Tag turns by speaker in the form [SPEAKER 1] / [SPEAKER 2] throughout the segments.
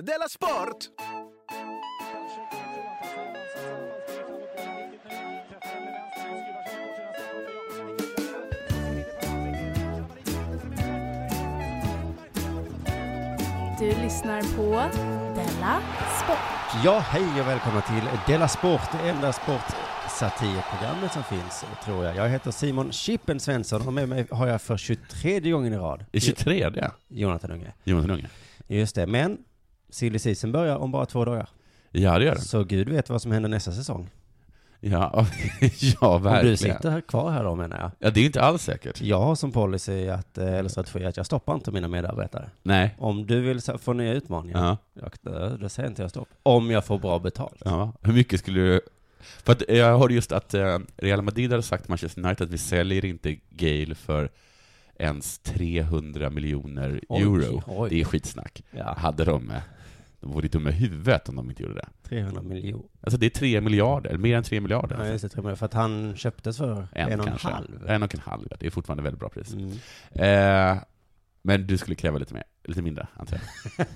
[SPEAKER 1] Della Sport!
[SPEAKER 2] Du lyssnar på Della Sport.
[SPEAKER 3] Ja, hej och välkomna till Della Sport, det enda sportsatirprogrammet som finns, tror jag. Jag heter Simon Chippen Svensson och med mig har jag för 23 gången i rad
[SPEAKER 4] I 23?
[SPEAKER 3] Jonathan Unge.
[SPEAKER 4] Jonathan Unge?
[SPEAKER 3] Just det, men silly season börjar om bara två dagar.
[SPEAKER 4] Ja, det gör den.
[SPEAKER 3] Så gud vet vad som händer nästa säsong.
[SPEAKER 4] Ja, ja
[SPEAKER 3] Om du
[SPEAKER 4] verkligen.
[SPEAKER 3] sitter här kvar här då menar jag.
[SPEAKER 4] Ja, det är ju inte alls säkert.
[SPEAKER 3] Jag har som policy att, eh, eller strategi att jag stoppar inte mina medarbetare.
[SPEAKER 4] Nej.
[SPEAKER 3] Om du vill så- få nya utmaningar,
[SPEAKER 4] Ja.
[SPEAKER 3] jag, då, då säger inte jag stopp. Om jag får bra betalt.
[SPEAKER 4] ja. Hur mycket skulle du... För att eh, jag hörde just att eh, Real Madrid hade sagt till Manchester United att vi säljer inte Gale för ens 300 miljoner
[SPEAKER 3] Oj,
[SPEAKER 4] euro.
[SPEAKER 3] oj.
[SPEAKER 4] Det är skitsnack.
[SPEAKER 3] Ja,
[SPEAKER 4] Hade de... eh, De vore dumma i huvudet om de inte gjorde det.
[SPEAKER 3] 300 miljoner.
[SPEAKER 4] Alltså det är tre miljarder, mer än tre miljarder. Alltså.
[SPEAKER 3] Ja, just det, tror jag. För att han köptes för en,
[SPEAKER 4] en,
[SPEAKER 3] och en
[SPEAKER 4] kanske.
[SPEAKER 3] halv.
[SPEAKER 4] En och en halv, ja. Det är fortfarande väldigt bra pris.
[SPEAKER 3] Mm.
[SPEAKER 4] Eh, men du skulle kräva lite mer, lite mindre, antar jag.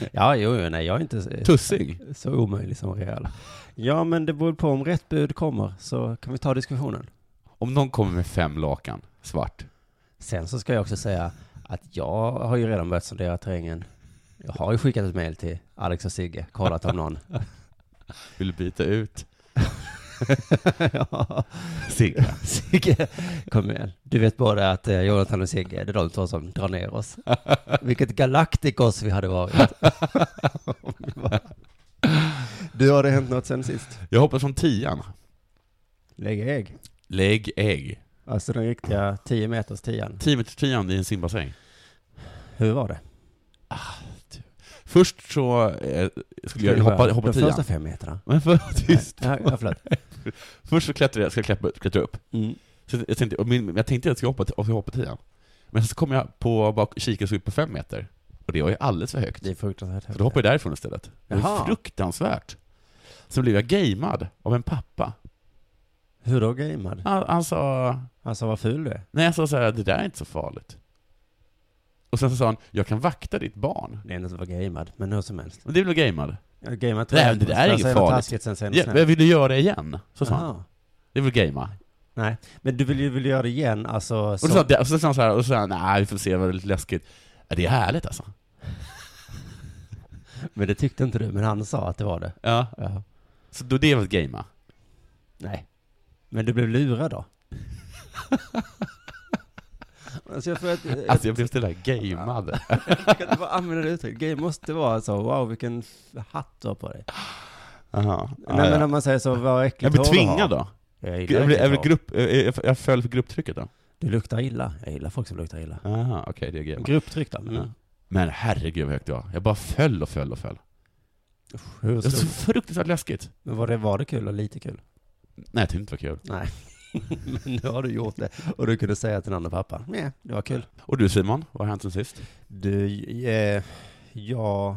[SPEAKER 3] Ja, jo, jo, nej, jag är inte s-
[SPEAKER 4] Tussing?
[SPEAKER 3] så omöjlig som Real. Ja, men det beror på om rätt bud kommer, så kan vi ta diskussionen.
[SPEAKER 4] Om någon kommer med fem lakan, svart.
[SPEAKER 3] Sen så ska jag också säga att jag har ju redan börjat sondera terrängen. Jag har ju skickat ett mejl till Alex och Sigge, kollat om någon.
[SPEAKER 4] Vill du byta ut
[SPEAKER 3] ja,
[SPEAKER 4] Sigge?
[SPEAKER 3] Sigge, kom igen. Du vet både att eh, Jonathan och Sigge, det är de två som drar ner oss. Vilket galaktikos vi hade varit. du, har det hänt något sen sist?
[SPEAKER 4] Jag hoppar från tian.
[SPEAKER 3] Lägg ägg.
[SPEAKER 4] Lägg ägg.
[SPEAKER 3] Alltså den riktiga 10 meters tian.
[SPEAKER 4] 10 meters tian i en simbassäng.
[SPEAKER 3] Hur var det?
[SPEAKER 4] Först så eh, skulle jag hoppa, hoppa
[SPEAKER 3] De
[SPEAKER 4] tian.
[SPEAKER 3] första fem meterna.
[SPEAKER 4] Men för, tyst.
[SPEAKER 3] Ja, ja, förlåt.
[SPEAKER 4] Först så klättrar jag, ska jag klättra, klättra upp.
[SPEAKER 3] Mm.
[SPEAKER 4] Så jag tänkte, och min, jag tänkte att jag ska hoppa, jag ska hoppa tian. Men så kom jag på, bara kika så upp på fem meter. Och det var ju alldeles för högt.
[SPEAKER 3] Det är fruktansvärt
[SPEAKER 4] Så då hoppade jag därifrån istället. Det var
[SPEAKER 3] Jaha.
[SPEAKER 4] fruktansvärt. Sen blev jag gamead av en pappa.
[SPEAKER 3] Hur då gamead?
[SPEAKER 4] Han, han sa,
[SPEAKER 3] Alltså vad ful du är.
[SPEAKER 4] nej jag sa så här, det där är inte så farligt. Och sen så sa han, jag kan vakta ditt barn.
[SPEAKER 3] Det är inte att vara gamead, men hur som helst.
[SPEAKER 4] Men det blev gamead.
[SPEAKER 3] Ja, gamead
[SPEAKER 4] Nej, men det där är inget farligt.
[SPEAKER 3] Taskigt, sen säger
[SPEAKER 4] Ja,
[SPEAKER 3] något
[SPEAKER 4] men
[SPEAKER 3] snällt.
[SPEAKER 4] jag ville göra det igen, så sa han.
[SPEAKER 3] Jaha.
[SPEAKER 4] Det blev gamea.
[SPEAKER 3] Nej, men du vill ju vill göra det igen, alltså.
[SPEAKER 4] Och så sa han, och så sa han så här, och så sa han, nej vi får se, det var lite läskigt. Ja, det är härligt alltså.
[SPEAKER 3] Men det tyckte inte du, men han sa att det var det.
[SPEAKER 4] Ja.
[SPEAKER 3] Ja.
[SPEAKER 4] Så då det var ett gamea.
[SPEAKER 3] Nej. Men du blev lurad då? alltså jag tror att, jag
[SPEAKER 4] Alltså jag blev så där gamead.
[SPEAKER 3] kan inte bara använda det uttrycket. Game måste vara så, wow vilken f- hatt du har på dig.
[SPEAKER 4] Jaha. Ja,
[SPEAKER 3] Nej
[SPEAKER 4] ja.
[SPEAKER 3] men om man säger så, vad äckligt
[SPEAKER 4] Jag blev
[SPEAKER 3] hår du har.
[SPEAKER 4] tvingad då.
[SPEAKER 3] Jag gillar
[SPEAKER 4] Jag, blev, jag,
[SPEAKER 3] äckligt hår.
[SPEAKER 4] blev grupp, eh, jag, jag föll för grupptrycket då.
[SPEAKER 3] Du luktar illa. Jag gillar folk som luktar illa. Mm.
[SPEAKER 4] Jaha, okej det är gamea.
[SPEAKER 3] Grupptryck då? men-
[SPEAKER 4] Ja. Men herregud vad högt det var. Jag bara föll och föll och föll.
[SPEAKER 3] Usch, hur
[SPEAKER 4] Det var så
[SPEAKER 3] stort?
[SPEAKER 4] fruktansvärt läskigt.
[SPEAKER 3] Men var det, var det kul och lite kul?
[SPEAKER 4] Nej, jag tyckte inte det var kul.
[SPEAKER 3] Nej. men nu har du gjort det. Och du kunde säga till den andra pappan, nej, det var kul.
[SPEAKER 4] Och du Simon, vad har hänt sen sist?
[SPEAKER 3] Du, eh, jag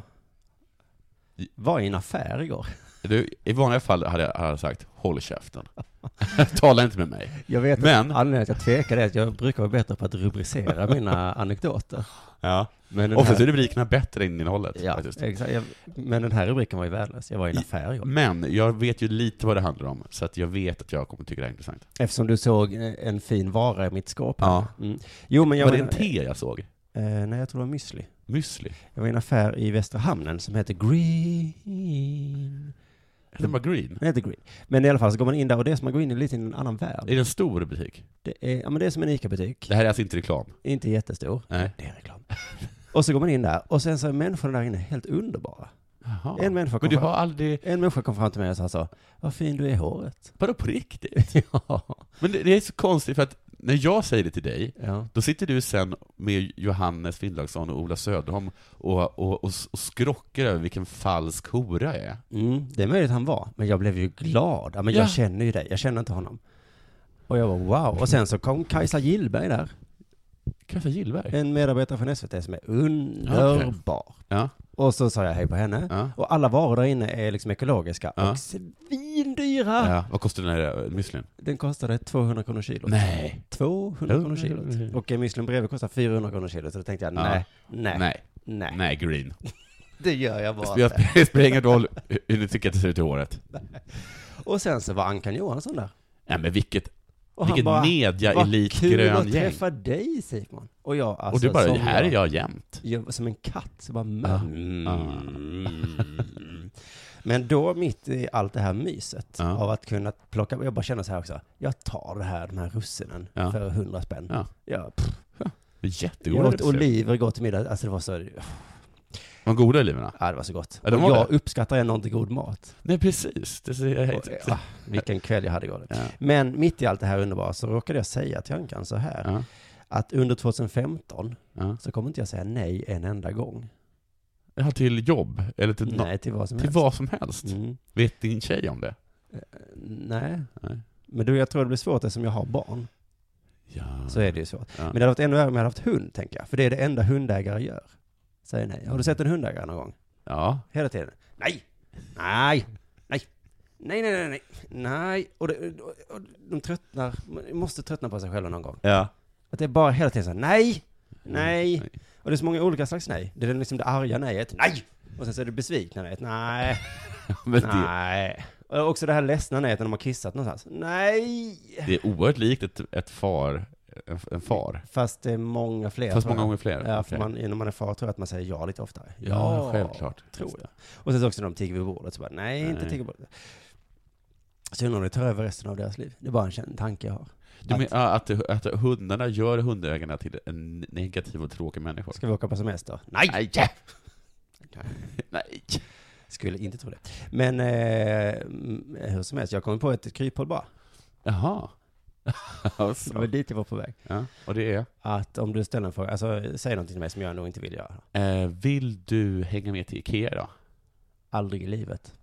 [SPEAKER 3] var i en affär igår.
[SPEAKER 4] Du, I vanliga fall hade jag hade jag sagt håll käften. Tala inte med mig.
[SPEAKER 3] Jag vet
[SPEAKER 4] Men-
[SPEAKER 3] att anledningen till att jag tvekar är att jag brukar vara bättre på att rubricera mina anekdoter.
[SPEAKER 4] Ja.
[SPEAKER 3] Men den
[SPEAKER 4] Ofta
[SPEAKER 3] här,
[SPEAKER 4] är rubrikerna bättre än innehållet.
[SPEAKER 3] ja,
[SPEAKER 4] faktiskt. Mm.
[SPEAKER 3] exakt, jag, men den här rubriken var ju värdelös. Jag var i en affär igår.
[SPEAKER 4] Men jag vet ju lite vad det handlar om, så att jag vet att jag kommer tycka det är intressant.
[SPEAKER 3] Eftersom du såg eh, en fin vara i mitt skåp. här.
[SPEAKER 4] Ja.
[SPEAKER 3] Mm. Jo, men jag
[SPEAKER 4] var det en
[SPEAKER 3] menar-
[SPEAKER 4] te jag såg?
[SPEAKER 3] Eh, nej, jag tror det var müsli.
[SPEAKER 4] Müsli?
[SPEAKER 3] Jag var i en affär i Västra Hamnen som heter Green.
[SPEAKER 4] Den var green.
[SPEAKER 3] Den heter Green. Men i alla fall så går man in där och det är som att gå in i lite i en annan värld.
[SPEAKER 4] Är det en stor butik?
[SPEAKER 3] Det är, ja, men det är som en ICA-butik.
[SPEAKER 4] Det här är alltså inte reklam?
[SPEAKER 3] Inte jättestor.
[SPEAKER 4] Nej.
[SPEAKER 3] Det är reklam. Och så går man in där och sen så är människorna där inne helt underbara.
[SPEAKER 4] Jaha.
[SPEAKER 3] En människa
[SPEAKER 4] Men
[SPEAKER 3] kom
[SPEAKER 4] du
[SPEAKER 3] fram.
[SPEAKER 4] har aldrig...
[SPEAKER 3] En människa kom fram till mig och sa så, vad fin du är i håret.
[SPEAKER 4] Vadå på riktigt?
[SPEAKER 3] ja.
[SPEAKER 4] Men det, det är så konstigt för att när jag säger det till dig,
[SPEAKER 3] ja.
[SPEAKER 4] Då sitter du sen med Johannes Finnlaugsson och Ola Söderholm och, och, och, och skrockar över vilken falsk hora jag är.
[SPEAKER 3] Mm, det är möjligt han var, men jag blev ju glad. Ja, men
[SPEAKER 4] Ja.
[SPEAKER 3] jag känner ju dig, jag känner inte honom. Och jag var wow. Och sen så kom Kajsa Gillberg där.
[SPEAKER 4] Kajsa Gillberg?
[SPEAKER 3] En medarbetare från SVT som är underbar.
[SPEAKER 4] Ja.
[SPEAKER 3] Och så sa jag hej på henne.
[SPEAKER 4] Ja.
[SPEAKER 3] Och alla varor där inne är liksom ekologiska
[SPEAKER 4] Ja.
[SPEAKER 3] och svindyra.
[SPEAKER 4] ja. Vad kostar den här eh, müslin?
[SPEAKER 3] Den kostade 200 kronor kilo.
[SPEAKER 4] Nej.
[SPEAKER 3] 200 kronor kilo.
[SPEAKER 4] Mm.
[SPEAKER 3] Och en müslin bredvid kostar 400 kronor kilo. Så då tänkte jag
[SPEAKER 4] Ja.
[SPEAKER 3] nej, nej,
[SPEAKER 4] Nej.
[SPEAKER 3] nej.
[SPEAKER 4] Nej, green.
[SPEAKER 3] det gör jag bara.
[SPEAKER 4] Jag sp- Det spelar ingen roll hur du tycker att det ser ut i håret.
[SPEAKER 3] Och sen så var Ankan Johansson där.
[SPEAKER 4] Nej men vilket,
[SPEAKER 3] Och
[SPEAKER 4] vilket
[SPEAKER 3] Vad kul att
[SPEAKER 4] media-elitgrön gäng.
[SPEAKER 3] träffa dig Simon. Och jag alltså,
[SPEAKER 4] Och du bara,
[SPEAKER 3] som
[SPEAKER 4] här är jag jämt.
[SPEAKER 3] jag- Som en katt, så bara
[SPEAKER 4] Ja.
[SPEAKER 3] men.
[SPEAKER 4] Mm.
[SPEAKER 3] Men då mitt i allt det här myset
[SPEAKER 4] Ja.
[SPEAKER 3] av att kunna plocka, jag bara känner så här också, jag tar det här, de här russinen
[SPEAKER 4] Ja.
[SPEAKER 3] för hundra spänn.
[SPEAKER 4] Ja.
[SPEAKER 3] Ja, pff, jag
[SPEAKER 4] Jättegoda
[SPEAKER 3] åt
[SPEAKER 4] oliver.
[SPEAKER 3] oliver gott till middag, alltså det var så,
[SPEAKER 4] De goda oliverna.
[SPEAKER 3] ja det var så gott.
[SPEAKER 4] Ja, de
[SPEAKER 3] och
[SPEAKER 4] var
[SPEAKER 3] jag uppskattar ändå inte god mat.
[SPEAKER 4] Nej precis, det ser jag
[SPEAKER 3] Och, ja, vilken kväll jag hade igår.
[SPEAKER 4] Ja.
[SPEAKER 3] Men mitt i allt det här underbara så råkade jag säga till Ankan så här,
[SPEAKER 4] Ja.
[SPEAKER 3] att under 2015
[SPEAKER 4] Ja.
[SPEAKER 3] så kommer inte jag säga nej en enda gång.
[SPEAKER 4] Ja, till jobb, eller till, nå-
[SPEAKER 3] nej till vad som
[SPEAKER 4] till
[SPEAKER 3] helst.
[SPEAKER 4] vad som helst.
[SPEAKER 3] Mm. Eh,
[SPEAKER 4] Vet din tjej om det?
[SPEAKER 3] Nej.
[SPEAKER 4] Nej.
[SPEAKER 3] Men du, jag tror det blir svårt eftersom jag har barn.
[SPEAKER 4] Ja.
[SPEAKER 3] Så är det ju svårt.
[SPEAKER 4] Ja.
[SPEAKER 3] Men det hade varit ännu värre om jag hade haft hund, tänker jag. För det är det enda hundägare gör. Säger nej. Har du sett en hundägare någon gång?
[SPEAKER 4] ja.
[SPEAKER 3] Hela tiden. Nej! Nej! Nej! Nej, nej, nej, nej. Nej. Och, det, och, och de tröttnar, man måste tröttna på sig själva någon gång.
[SPEAKER 4] Ja.
[SPEAKER 3] Att det är bara hela tiden så här, nej!
[SPEAKER 4] Mm.
[SPEAKER 3] Nej! Och det är så många olika slags nej. Det är liksom det arga nejet, nej! Och sen så är det besvikna nejet, nej,
[SPEAKER 4] Men det,
[SPEAKER 3] nej. Och också det här ledsna nejet när de har kissat någonstans, nej!
[SPEAKER 4] det är oerhört likt ett, ett far, en, en far.
[SPEAKER 3] Fast det är många fler.
[SPEAKER 4] Fast
[SPEAKER 3] tror jag.
[SPEAKER 4] många gånger fler.
[SPEAKER 3] Ja, för
[SPEAKER 4] Okej.
[SPEAKER 3] man, när man är far tror jag att man säger ja lite oftare.
[SPEAKER 4] ja, självklart.
[SPEAKER 3] Tror jag. Och sen så också när de tigger vid bordet så bara, nej, inte
[SPEAKER 4] Nej.
[SPEAKER 3] tigger bordet. Så jag undrar om det tar över resten av deras liv. Det är bara en känd tanke jag har.
[SPEAKER 4] Du menar ja, att, att hundarna gör hundägarna till en negativ och tråkig människor?
[SPEAKER 3] Ska vi åka på semester? Nej!
[SPEAKER 4] Nej! Nej!
[SPEAKER 3] Skulle inte tro det. Men eh, m- hur som helst, jag kom på ett kryphål bara.
[SPEAKER 4] Jaha.
[SPEAKER 3] Det var
[SPEAKER 4] Alltså.
[SPEAKER 3] dit jag var på väg.
[SPEAKER 4] Ja, och det är?
[SPEAKER 3] Att om du ställer en fråga, alltså säg någonting till mig som jag nog inte vill göra.
[SPEAKER 4] Eh, vill du hänga med till Ikea då?
[SPEAKER 3] Aldrig i livet.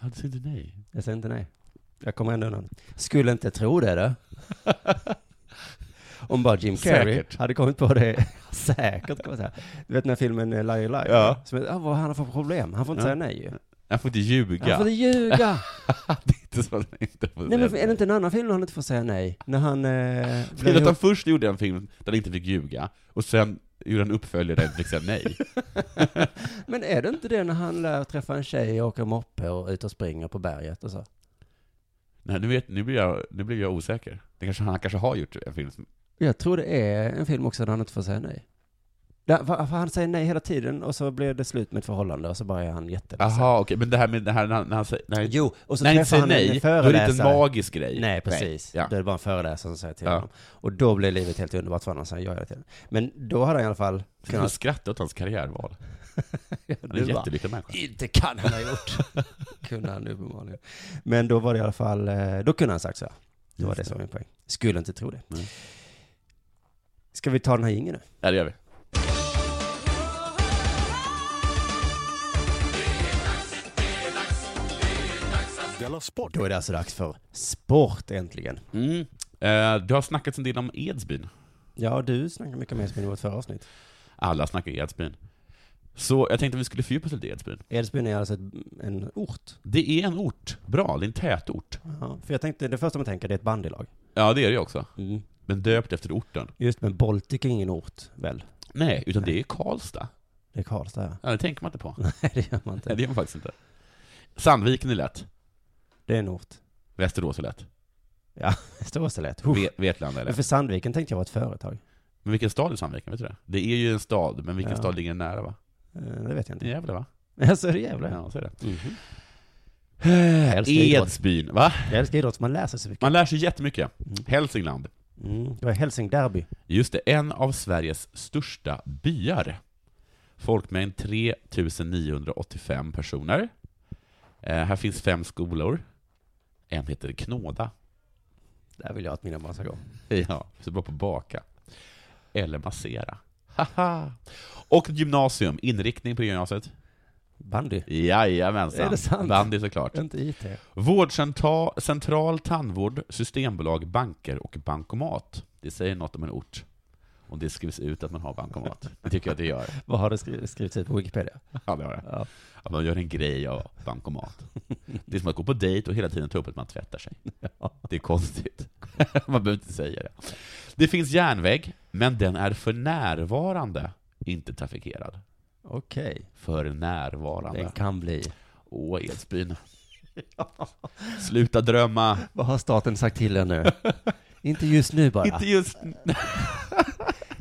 [SPEAKER 4] Ja, du säger inte nej.
[SPEAKER 3] Jag säger inte nej. Jag kommer ändå undan. Skulle inte tro det då. Om bara Jim Carrey
[SPEAKER 4] Säkert.
[SPEAKER 3] hade kommit på det. Säkert. Kan man säga. Du vet den här filmen eh, Liar Liar?
[SPEAKER 4] Ja.
[SPEAKER 3] Som är, ah, vad han har för problem. Han får inte
[SPEAKER 4] Ja.
[SPEAKER 3] säga nej ju.
[SPEAKER 4] Jag får inte ljuga.
[SPEAKER 3] Han får inte ljuga.
[SPEAKER 4] det är inte så att han inte får
[SPEAKER 3] nej men
[SPEAKER 4] säga
[SPEAKER 3] är det inte en annan film när han inte får säga nej? När han eh,
[SPEAKER 4] Till
[SPEAKER 3] blir
[SPEAKER 4] att han
[SPEAKER 3] ihop...
[SPEAKER 4] först gjorde en film där han inte fick ljuga, och sen gjorde han en uppföljare där han fick säga nej.
[SPEAKER 3] Men är det inte det när han lär träffa en tjej och åker moppe och ut och springer på berget och så?
[SPEAKER 4] nej nu, vet, nu, blir jag, nu blir jag osäker. Det kanske, han kanske har gjort en film som...
[SPEAKER 3] Jag tror det är en film också där han inte får säga nej. Där, för för han säger nej hela tiden och så blir det slut med ett förhållande och så bara är han jätteledsen.
[SPEAKER 4] Jaha, okej, men det här med det här när han, när han säger... När han,
[SPEAKER 3] Jo, och så
[SPEAKER 4] när han inte
[SPEAKER 3] träffar
[SPEAKER 4] säger
[SPEAKER 3] han en
[SPEAKER 4] nej, då är det inte en
[SPEAKER 3] föreläsare.
[SPEAKER 4] magisk grej.
[SPEAKER 3] Nej, precis.
[SPEAKER 4] Ja.
[SPEAKER 3] Då är det bara en föreläsare som säger till
[SPEAKER 4] Ja.
[SPEAKER 3] honom. Och då blir livet helt underbart för honom, så han gör hela tiden. Men då hade han i alla fall
[SPEAKER 4] Kan
[SPEAKER 3] kunnat...
[SPEAKER 4] skratta åt hans karriärval. Han är
[SPEAKER 3] Du
[SPEAKER 4] en
[SPEAKER 3] bara,
[SPEAKER 4] jättelycklig människa.
[SPEAKER 3] inte kan han ha gjort. kunde han uppenbarligen. Men då var det i alla fall, eh, då kunde han sagt så här. Det var
[SPEAKER 4] Just
[SPEAKER 3] det
[SPEAKER 4] det.
[SPEAKER 3] som var min poäng. Skulle inte tro det.
[SPEAKER 4] Nej.
[SPEAKER 3] Ska vi ta den här jingeln nu?
[SPEAKER 4] Ja, det gör vi.
[SPEAKER 3] Då är det alltså dags för sport äntligen.
[SPEAKER 4] Mm. Eh, det har snackats en del om Edsbyn.
[SPEAKER 3] Ja, du snackade mycket mer spinn i vårt förra avsnitt.
[SPEAKER 4] Alla snackar Edsbyn. Så jag tänkte vi skulle fördjupa oss lite i Edsbyn.
[SPEAKER 3] Edsbyn är alltså ett, en ort.
[SPEAKER 4] Det är en ort. Bra, det är en tätort.
[SPEAKER 3] Ja, för jag tänkte, det första man tänker det är ett bandylag.
[SPEAKER 4] Ja, det är det också.
[SPEAKER 3] Mm.
[SPEAKER 4] Men döpt efter orten.
[SPEAKER 3] Just, men Baltic är ingen ort, väl?
[SPEAKER 4] Nej, utan det är Karlstad.
[SPEAKER 3] Det är Karlstad, ja.
[SPEAKER 4] Ja, det tänker man inte på.
[SPEAKER 3] Nej, det gör man
[SPEAKER 4] Nej,
[SPEAKER 3] inte.
[SPEAKER 4] det gör man faktiskt inte. Sandviken är lätt.
[SPEAKER 3] Det är en ort.
[SPEAKER 4] Västerås är lätt.
[SPEAKER 3] Västerås är lätt.
[SPEAKER 4] Ve- Vetlanda är
[SPEAKER 3] Men
[SPEAKER 4] lätt.
[SPEAKER 3] för Sandviken tänkte jag var ett företag.
[SPEAKER 4] Men vilken stad är Sandviken? Vet du det? Det är ju en stad, men vilken
[SPEAKER 3] Ja.
[SPEAKER 4] stad ligger nära va?
[SPEAKER 3] Eh, Det vet jag
[SPEAKER 4] Det är
[SPEAKER 3] inte.
[SPEAKER 4] Gävle va?
[SPEAKER 3] Alltså, det är jävla.
[SPEAKER 4] Ja, så är det. Eh,
[SPEAKER 3] Mhm. älskar idrott.
[SPEAKER 4] Edsbyn, va?
[SPEAKER 3] Jag älskar idrott, så man läser så mycket.
[SPEAKER 4] Man lär sig jättemycket.
[SPEAKER 3] Mm.
[SPEAKER 4] Hälsingland.
[SPEAKER 3] Mm. Det var Hälsingderby.
[SPEAKER 4] Just det, en av Sveriges största byar. Folkmängd 3985 personer. Eh, här finns fem skolor. En heter Knåda.
[SPEAKER 3] Där vill jag att mina barn ska gå.
[SPEAKER 4] Ja, så bra på att baka. Eller massera. Haha! Och gymnasium, inriktning på gymnasiet?
[SPEAKER 3] Bandy.
[SPEAKER 4] Jajamensan.
[SPEAKER 3] Är det sant?
[SPEAKER 4] Bandy såklart.
[SPEAKER 3] Inte IT.
[SPEAKER 4] Vårdcentral, central tandvård, systembolag, banker och bankomat. Det säger något om en ort. Om det skrivs ut att man har bankomat. Det tycker jag att det gör.
[SPEAKER 3] Vad har det skri- skrivits ut på Wikipedia?
[SPEAKER 4] Ja, det har jag.
[SPEAKER 3] Ja.
[SPEAKER 4] Att man gör en grej av bankomat. Det är som att gå på dejt och hela tiden ta upp att man tvättar sig. Det är konstigt. Man behöver inte säga det. Det finns järnväg, men den är för närvarande inte trafikerad.
[SPEAKER 3] Okej.
[SPEAKER 4] för
[SPEAKER 3] Den
[SPEAKER 4] närvarande.
[SPEAKER 3] kan bli.
[SPEAKER 4] Åh, Edsbyn. Sluta drömma.
[SPEAKER 3] Vad har staten sagt till er nu? Inte just nu bara.
[SPEAKER 4] Inte just...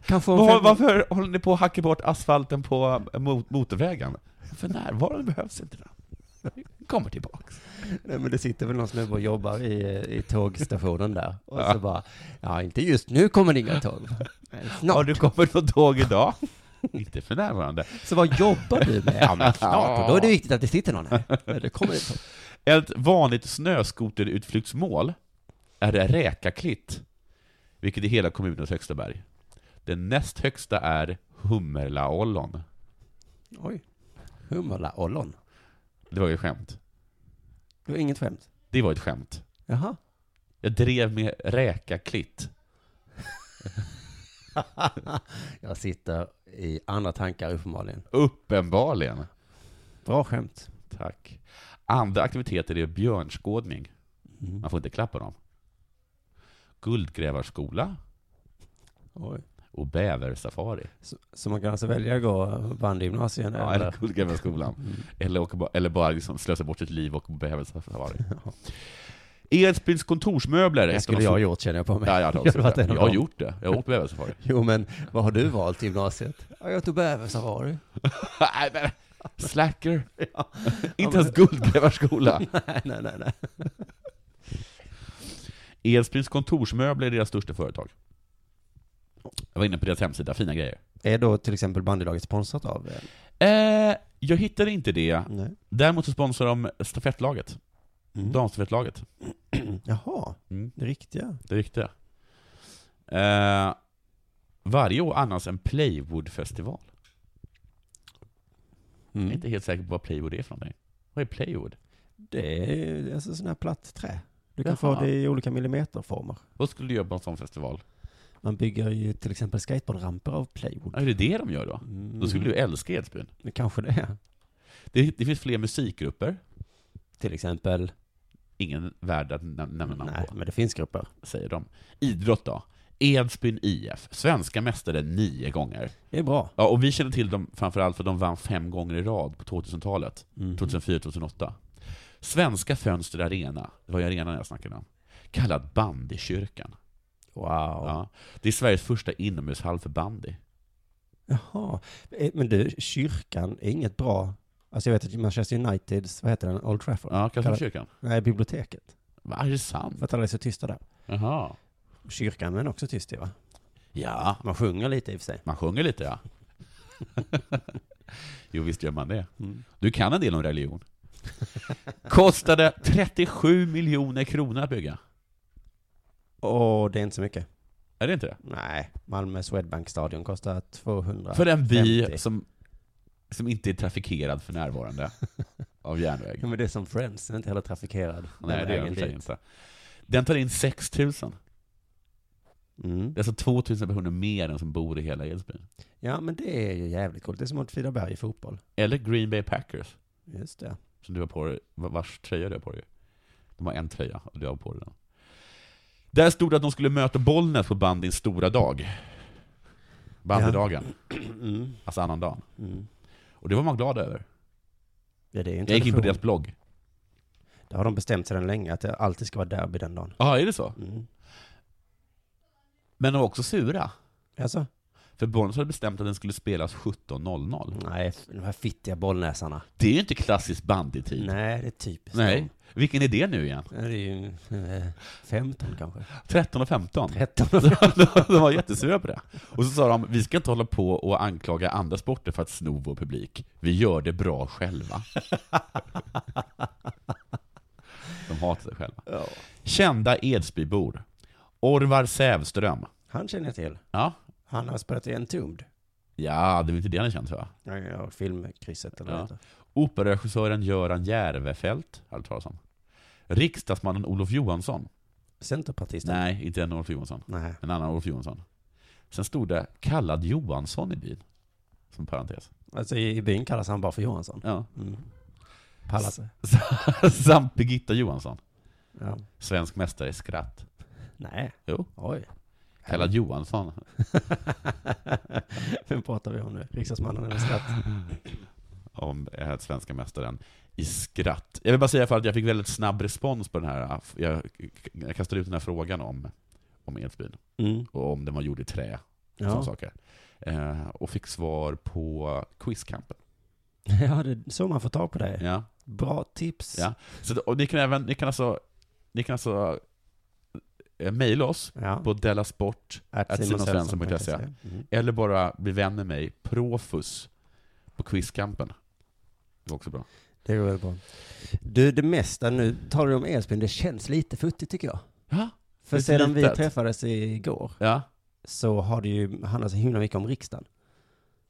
[SPEAKER 3] Kanske om
[SPEAKER 4] Var,
[SPEAKER 3] fem...
[SPEAKER 4] varför håller ni på att hacka bort asfalten på eh, mot, motorvägen? För närvarande behövs inte den. Vi kommer tillbaks.
[SPEAKER 3] Nej, men det sitter väl någon snubbe och jobbar i, i tågstationen där. Och
[SPEAKER 4] Ja.
[SPEAKER 3] så bara, ja inte just nu kommer det inga tåg. Men
[SPEAKER 4] Har
[SPEAKER 3] Snart.
[SPEAKER 4] du kommit på tåg idag? inte för närvarande.
[SPEAKER 3] Så vad jobbar du med? Ja men snart, och då är det viktigt att det sitter någon här. Men det kommer det tåg.
[SPEAKER 4] Ett vanligt snöskoterutflyktsmål är Räkaklitt, vilket är hela kommunens högsta berg. Den näst högsta är Hummerlaollon.
[SPEAKER 3] Oj. Hummerla ollon.
[SPEAKER 4] Det var ju ett skämt.
[SPEAKER 3] Det var inget skämt.
[SPEAKER 4] Det var ett skämt.
[SPEAKER 3] Jaha.
[SPEAKER 4] Jag drev med Räkaklitt.
[SPEAKER 3] Jag sitter i andra tankar uppenbarligen.
[SPEAKER 4] Uppenbarligen.
[SPEAKER 3] Bra skämt.
[SPEAKER 4] Tack. Andra aktiviteter är björnskådning.
[SPEAKER 3] Mm.
[SPEAKER 4] Man får inte klappa dem. Guldgrävarskola
[SPEAKER 3] Oj.
[SPEAKER 4] och bäversafari.
[SPEAKER 3] Så, så man kan alltså välja att gå bandygymnasiet
[SPEAKER 4] Ja, eller
[SPEAKER 3] eller? Mm.
[SPEAKER 4] Guldgrävarskolan. Eller, åka, ba- eller bara liksom slösa bort sitt liv och bäversafari. Edsbyns kontorsmöbler. är
[SPEAKER 3] Det
[SPEAKER 4] ett
[SPEAKER 3] skulle
[SPEAKER 4] av de
[SPEAKER 3] jag ha
[SPEAKER 4] få-
[SPEAKER 3] gjort känner jag på mig.
[SPEAKER 4] Ja, jag, hade
[SPEAKER 3] Jag
[SPEAKER 4] också
[SPEAKER 3] hade varit
[SPEAKER 4] gjort det.
[SPEAKER 3] en av
[SPEAKER 4] jag
[SPEAKER 3] dem.
[SPEAKER 4] har gjort det. Jag har åkt bäversafari.
[SPEAKER 3] Jo men, vad har du valt till gymnasiet? Ja, jag tog bäversafari.
[SPEAKER 4] Nej, men- Slacker.
[SPEAKER 3] men-
[SPEAKER 4] Inte ens Guldgrävarskola.
[SPEAKER 3] nej, nej, nej, nej.
[SPEAKER 4] Edsbyns kontorsmöbler är deras största företag. Jag var inne på deras hemsida, fina grejer.
[SPEAKER 3] Är då till exempel bandylaget sponsrat av? eh,
[SPEAKER 4] Eh, jag hittade inte det.
[SPEAKER 3] Nej.
[SPEAKER 4] Däremot så sponsrar de stafettlaget.
[SPEAKER 3] Mm.
[SPEAKER 4] Damstafettlaget.
[SPEAKER 3] Jaha,
[SPEAKER 4] Mm.
[SPEAKER 3] det riktiga.
[SPEAKER 4] Det riktiga. Eh, varje år annars en Playwood-festival.
[SPEAKER 3] Mm.
[SPEAKER 4] Jag är inte helt säker på vad Playwood är för någonting. Vad är Playwood?
[SPEAKER 3] Det är ju alltså sån här platt trä. Du kan
[SPEAKER 4] Jaha.
[SPEAKER 3] få det i olika millimeterformer.
[SPEAKER 4] Vad skulle du göra på en sån festival?
[SPEAKER 3] Man bygger ju till exempel skateboardramper av plywood.
[SPEAKER 4] Ja, är det det de gör då? Då skulle du
[SPEAKER 3] Mm.
[SPEAKER 4] älska Edsbyn.
[SPEAKER 3] du... Kanske det.
[SPEAKER 4] Det, det finns fler musikgrupper.
[SPEAKER 3] Till exempel.
[SPEAKER 4] Ingen värd att näm- nämna namn
[SPEAKER 3] Nej,
[SPEAKER 4] på,
[SPEAKER 3] men det finns grupper.
[SPEAKER 4] säger de. Idrott då? Edsbyn IF. Svenska mästare nio gånger.
[SPEAKER 3] Det är bra.
[SPEAKER 4] Ja, och vi känner till dem framförallt för att de vann fem gånger i rad på 2000-talet.
[SPEAKER 3] Mm.
[SPEAKER 4] 2004-2008. Svenska Fönster Arena, det var ju arenan jag snackade om, kallad Bandykyrkan.
[SPEAKER 3] Wow.
[SPEAKER 4] Ja. Det är Sveriges första inomhushall för bandy.
[SPEAKER 3] Jaha. Eh, Men du, kyrkan är inget bra. Alltså jag vet att Manchester Uniteds, vad heter den, Old Trafford?
[SPEAKER 4] Ja, Mm.
[SPEAKER 3] Kallar-
[SPEAKER 4] Kalmarkyrkan.
[SPEAKER 3] Nej, biblioteket.
[SPEAKER 4] Va, är det sant?
[SPEAKER 3] För att alla är så tysta där.
[SPEAKER 4] Jaha.
[SPEAKER 3] Kyrkan är också tyst i, va?
[SPEAKER 4] Ja,
[SPEAKER 3] Man sjunger lite i och för sig.
[SPEAKER 4] man sjunger lite ja. jo, visst gör man det. Du kan en del om religion. Kostade 37 miljoner kronor att bygga.
[SPEAKER 3] Och det är inte så mycket.
[SPEAKER 4] Är det inte det?
[SPEAKER 3] Nej, Malmö Swedbank Stadion kostar 200.
[SPEAKER 4] För en by
[SPEAKER 3] 50.
[SPEAKER 4] som, som inte är trafikerad för närvarande av järnväg.
[SPEAKER 3] Ja, men det är som Friends, den är inte heller trafikerad.
[SPEAKER 4] Nej,
[SPEAKER 3] Den
[SPEAKER 4] det gör
[SPEAKER 3] vägen typ.
[SPEAKER 4] den i och för sig
[SPEAKER 3] dit.
[SPEAKER 4] inte. Den tar in 6 000.
[SPEAKER 3] Mm.
[SPEAKER 4] Det är alltså 2 000 personer mer än som bor i hela Edsbyn.
[SPEAKER 3] Ja, men det är ju jävligt coolt. Det är som Åtvidaberg i fotboll.
[SPEAKER 4] Eller Green Bay Packers,
[SPEAKER 3] Just det.
[SPEAKER 4] som du har på dig, vars tröja du har på dig. De har en tröja, och du har på dig den. Där stod det att de skulle möta Bollnäs på bandyns stora dag. Bandydagen,
[SPEAKER 3] Mm.
[SPEAKER 4] alltså annandagen.
[SPEAKER 3] Mm.
[SPEAKER 4] Och det var man glad över.
[SPEAKER 3] Ja, det är ju en
[SPEAKER 4] Jag gick in på
[SPEAKER 3] tradition.
[SPEAKER 4] deras blogg.
[SPEAKER 3] Där har de bestämt sedan länge att det alltid ska vara derby den dagen.
[SPEAKER 4] Ja, ah, är det så?
[SPEAKER 3] Mm.
[SPEAKER 4] Men de var också sura.
[SPEAKER 3] Alltså?
[SPEAKER 4] För Bollnäs hade bestämt att den skulle spelas 17.00.
[SPEAKER 3] Nej, f- de här fittiga bollnäsarna.
[SPEAKER 4] Det är ju inte klassisk bandytid.
[SPEAKER 3] Nej, det är typiskt.
[SPEAKER 4] Nej. Vilken är det nu igen?
[SPEAKER 3] Ja, Det är ju eh, 15 kanske.
[SPEAKER 4] 13 och 15.
[SPEAKER 3] 13.
[SPEAKER 4] de var jättesura på det. Och så sa de, vi ska inte hålla på och anklaga andra sporter för att sno vår publik. Vi gör det bra själva. De hatar sig själva.
[SPEAKER 3] Ja.
[SPEAKER 4] Kända Edsbybor. Orvar Sävström.
[SPEAKER 3] Han känner jag till.
[SPEAKER 4] Ja,
[SPEAKER 3] Han har spelat i Entombed.
[SPEAKER 4] ja det är väl inte det han är känd för? va?
[SPEAKER 3] Ja, ja, Filmkrysset eller
[SPEAKER 4] Ja.
[SPEAKER 3] vad det heter.
[SPEAKER 4] Operaregissören Göran Järvefelt, har du hört talas om. Riksdagsmannen Olof Johansson.
[SPEAKER 3] Centerpartisten?
[SPEAKER 4] Nej, inte en Olof Johansson.
[SPEAKER 3] Nej.
[SPEAKER 4] En annan Olof Johansson. Sen stod det kallad Johansson i byn. Som parentes.
[SPEAKER 3] Alltså i, i byn kallas han bara för Johansson.
[SPEAKER 4] Ja.
[SPEAKER 3] Mm. Pallas.
[SPEAKER 4] Samt Birgitta Johansson.
[SPEAKER 3] Ja.
[SPEAKER 4] Svensk mästare i skratt.
[SPEAKER 3] Nej.
[SPEAKER 4] Jo.
[SPEAKER 3] Oj.
[SPEAKER 4] Pella Johansson.
[SPEAKER 3] Vem pratar vi om nu? Riksdagsmannen eller skratt?
[SPEAKER 4] om eh, svenska mästaren i skratt. Jag vill bara säga för att jag fick väldigt snabb respons på den här, jag, jag kastade ut den här frågan om, om Edsbyn
[SPEAKER 3] Mm.
[SPEAKER 4] och om den var gjord i trä och sådana
[SPEAKER 3] Ja.
[SPEAKER 4] saker. Eh, och fick svar på quizkampen.
[SPEAKER 3] ja, det är så man får tag på dig.
[SPEAKER 4] Ja.
[SPEAKER 3] Bra tips.
[SPEAKER 4] Ja. Så, då- och ni kan även, ni kan alltså, ni kan alltså eh, mejla oss
[SPEAKER 3] Ja.
[SPEAKER 4] på dellasport
[SPEAKER 3] Att
[SPEAKER 4] Simon
[SPEAKER 3] Simon
[SPEAKER 4] Svensson punkt E. se.
[SPEAKER 3] Svensson. Mm.
[SPEAKER 4] eller bara bli vän med mig, profus, på quizkampen. Det var också bra.
[SPEAKER 3] Det går väl bra. Du, det mesta nu talar du om Edsbyn, det känns lite futtigt tycker jag.
[SPEAKER 4] Ja,
[SPEAKER 3] För
[SPEAKER 4] Lite
[SPEAKER 3] sedan vi
[SPEAKER 4] litet.
[SPEAKER 3] träffades igår
[SPEAKER 4] ja,
[SPEAKER 3] så har det ju handlat så himla mycket om riksdagen.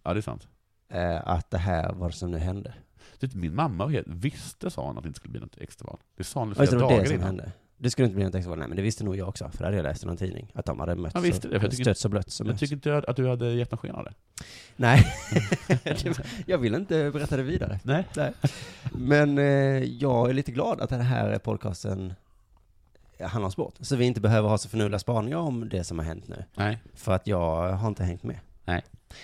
[SPEAKER 4] ja det är sant.
[SPEAKER 3] Eh, att det här var det som nu hände.
[SPEAKER 4] Du, min mamma var helt- visste, sa hon, att det inte skulle bli något extraval. Det sa hon
[SPEAKER 3] Ja, just
[SPEAKER 4] flera
[SPEAKER 3] det, det var det
[SPEAKER 4] dagar
[SPEAKER 3] som
[SPEAKER 4] innan.
[SPEAKER 3] hände. Det skulle inte bli något extra val. Nej, men det visste nog jag också, för det hade jag läst i någon tidning. Att de hade mötts
[SPEAKER 4] Ja, visste
[SPEAKER 3] och
[SPEAKER 4] det, för jag tycker-
[SPEAKER 3] stötts och blött som
[SPEAKER 4] Jag tycker inte att du hade gett någon sken av det.
[SPEAKER 3] Nej, Det var- jag vill inte berätta det vidare.
[SPEAKER 4] Nej.
[SPEAKER 3] Men eh, jag är lite glad att den här podcasten handlar om sport. Så vi inte behöver ha så förnuliga spaningar om det som har hänt nu.
[SPEAKER 4] Nej.
[SPEAKER 3] För att jag har inte hängt med.
[SPEAKER 4] Nej.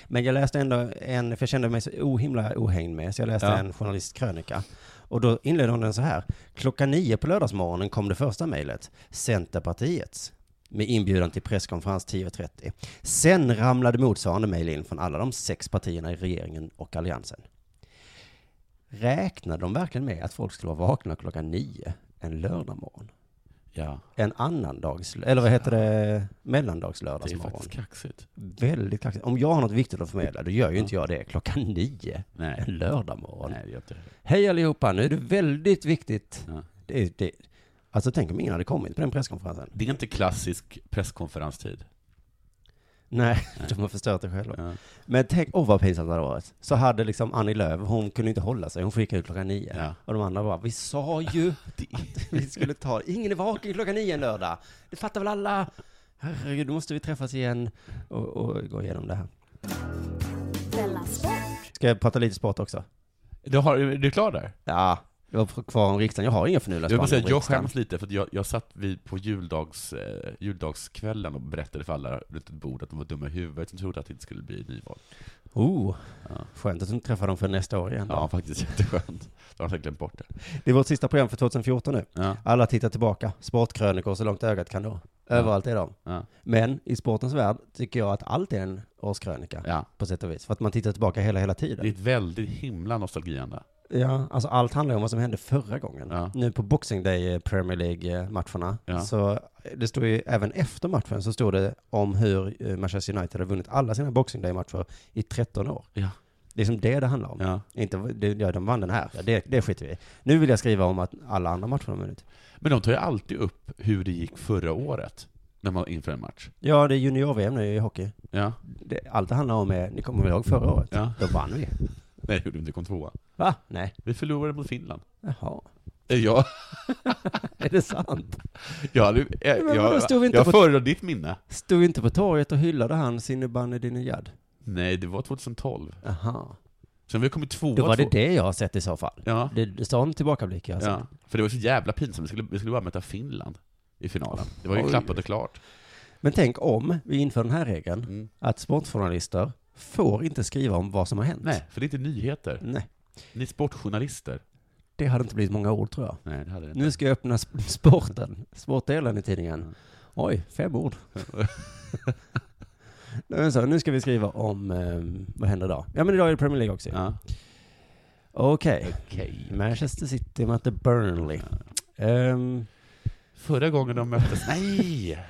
[SPEAKER 3] Men jag läste ändå en, för jag kände mig så ohimla ohängd med, så jag läste
[SPEAKER 4] Ja.
[SPEAKER 3] en journalistkrönika. Och då inledde hon den så här. Klockan nio på lördagsmorgonen kom det första mejlet. Centerpartiets. Med inbjudan till presskonferens 10.30. Sen ramlade motsvarande mejl in från alla de sex partierna i regeringen och alliansen. Räknade de verkligen med att folk skulle vara vakna klockan nio en lördagmorgon?
[SPEAKER 4] Ja,
[SPEAKER 3] En annan dags, eller vad heter det,
[SPEAKER 4] det är
[SPEAKER 3] mellandagslördagsmorgon?
[SPEAKER 4] faktiskt kaxigt.
[SPEAKER 3] Väldigt kaxigt. Om jag har något viktigt att förmedla, då gör ju inte jag det klockan nio
[SPEAKER 4] Nej.
[SPEAKER 3] en lördagmorgon.
[SPEAKER 4] Nej, det gör inte det.
[SPEAKER 3] Hej allihopa, nu är det väldigt viktigt.
[SPEAKER 4] Ja.
[SPEAKER 3] Det är, det, alltså tänk om ingen hade kommit på den presskonferensen.
[SPEAKER 4] Det är inte klassisk presskonferenstid.
[SPEAKER 3] Nej, de har förstört det själva.
[SPEAKER 4] Ja.
[SPEAKER 3] Men tänk, åh vad pinsamt det hade varit. Så hade liksom Annie Lööf, hon kunde inte hålla sig, hon fick ut klockan nio.
[SPEAKER 4] Ja.
[SPEAKER 3] Och de andra bara, vi sa ju att vi skulle ta, ingen är vaken klockan nio en lördag. Det fattar väl alla. Herregud, då måste vi träffas igen och, och gå igenom det här.
[SPEAKER 2] Della Sport.
[SPEAKER 3] Ska jag prata lite sport också?
[SPEAKER 4] Du, har, är du klar där?
[SPEAKER 3] Ja, jag var kvar om riksdagen. Jag har inga förnuliga
[SPEAKER 4] Jag, vill bara
[SPEAKER 3] spaningar
[SPEAKER 4] säga,
[SPEAKER 3] om
[SPEAKER 4] att jag
[SPEAKER 3] riksdagen.
[SPEAKER 4] skäms lite, för att jag, jag satt vid, på juldags, eh, juldagskvällen och berättade för alla runt ett bord att de var dumma i huvudet som trodde att det inte skulle bli nyval.
[SPEAKER 3] Oh,
[SPEAKER 4] Ja.
[SPEAKER 3] skönt att du inte träffar dem för nästa år igen. då.
[SPEAKER 4] Ja, faktiskt jätteskönt. Då har jag glömt bort det.
[SPEAKER 3] Det är vårt sista program för 2014 nu.
[SPEAKER 4] Ja,
[SPEAKER 3] Alla tittar tillbaka. Sportkrönikor så långt ögat kan nå. Överallt är de.
[SPEAKER 4] ja,
[SPEAKER 3] Men i sportens värld tycker jag att allt är en årskrönika
[SPEAKER 4] ja.
[SPEAKER 3] på sätt och vis. För att man tittar tillbaka hela, hela
[SPEAKER 4] Det är
[SPEAKER 3] tiden.
[SPEAKER 4] ett väldigt himla nostalgiande.
[SPEAKER 3] Ja, alltså allt handlar ju om vad som hände förra gången.
[SPEAKER 4] Ja.
[SPEAKER 3] Nu på Boxing Day eh, Premier League-matcherna,
[SPEAKER 4] Ja.
[SPEAKER 3] så eh, det stod ju även efter matchen så stod det om hur eh, Manchester United har vunnit alla sina Boxing Day-matcher i 13 år.
[SPEAKER 4] Ja.
[SPEAKER 3] Det är som det det handlar om.
[SPEAKER 4] Ja.
[SPEAKER 3] Inte, det, ja, de vann den här. Ja, det, det skiter vi i. Nu vill jag skriva om att alla andra matcher de vunnit.
[SPEAKER 4] Men de tar ju alltid upp hur det gick förra året, när man inför en match.
[SPEAKER 3] Ja, det är junior-VM nu i hockey.
[SPEAKER 4] Ja,
[SPEAKER 3] Det, allt det handlar om är, ni kommer väl ihåg förra året?
[SPEAKER 4] ja.
[SPEAKER 3] Då vann vi.
[SPEAKER 4] Nej, det gjorde vi inte, kom tvåa.
[SPEAKER 3] Va? Nej.
[SPEAKER 4] Vi förlorade mot Finland.
[SPEAKER 3] Jaha.
[SPEAKER 4] Eh, Jag,
[SPEAKER 3] Är det sant?
[SPEAKER 4] jag, hade- eh,
[SPEAKER 3] Men vadå,
[SPEAKER 4] jag,
[SPEAKER 3] stod vi
[SPEAKER 4] jag,
[SPEAKER 3] inte på-
[SPEAKER 4] föredrar ditt minne.
[SPEAKER 3] Stod inte på torget och hyllade han Sinebane Dinejad?
[SPEAKER 4] Nej, det var 2012.
[SPEAKER 3] Jaha.
[SPEAKER 4] Sen har vi kommit tvåa.
[SPEAKER 3] Då var det
[SPEAKER 4] två-
[SPEAKER 3] det jag har sett i så fall.
[SPEAKER 4] Ja,
[SPEAKER 3] Det är sån tillbakablick alltså. jag har sett.
[SPEAKER 4] ja. För det var så jävla pinsamt, vi skulle, vi skulle bara möta Finland i finalen. Det var ju
[SPEAKER 3] Oj.
[SPEAKER 4] klappat och klart.
[SPEAKER 3] Men tänk om vi inför den här regeln,
[SPEAKER 4] Mm.
[SPEAKER 3] att sportjournalister får inte skriva om vad som har hänt.
[SPEAKER 4] Nej, för det är inte nyheter.
[SPEAKER 3] Nej.
[SPEAKER 4] Ni är sportjournalister.
[SPEAKER 3] Det hade inte blivit många ord tror jag.
[SPEAKER 4] Nej, det hade det inte.
[SPEAKER 3] Nu ska jag öppna sp- sporten, sportdelen i tidningen.
[SPEAKER 4] Mm.
[SPEAKER 3] Oj, fem ord. Nej, men så, nu ska vi skriva om, ehm, vad händer idag? Ja men idag är det Premier League också ju.
[SPEAKER 4] Ja.
[SPEAKER 3] Okej.
[SPEAKER 4] Okej.
[SPEAKER 3] Manchester City mötte Burnley. Um,
[SPEAKER 4] Förra gången de möttes, nej!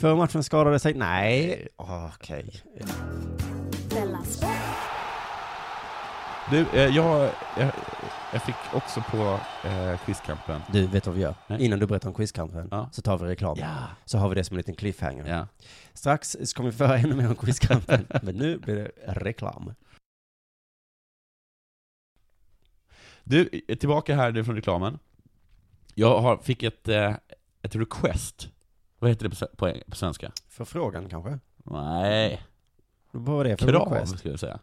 [SPEAKER 3] Före matchen skadade sig, nej. Okej.
[SPEAKER 2] Della Sport.
[SPEAKER 4] Du, eh, jag, jag, jag fick också på eh, quizkampen.
[SPEAKER 3] Du, vet vad vi gör?
[SPEAKER 4] Nej.
[SPEAKER 3] Innan du berättar om quizkampen
[SPEAKER 4] Ja.
[SPEAKER 3] så tar vi reklam.
[SPEAKER 4] Ja.
[SPEAKER 3] Så har vi det som en liten cliffhanger.
[SPEAKER 4] ja.
[SPEAKER 3] Strax så kommer vi föra ännu mer om quizkampen, men nu blir det reklam.
[SPEAKER 4] Du, eh, tillbaka här nu från reklamen. Jag har, fick ett, eh, ett request. Vad heter det på, se- på, på svenska?
[SPEAKER 3] Förfrågan kanske?
[SPEAKER 4] Nej,
[SPEAKER 3] Vad var det för
[SPEAKER 4] krav
[SPEAKER 3] request?
[SPEAKER 4] skulle jag säga.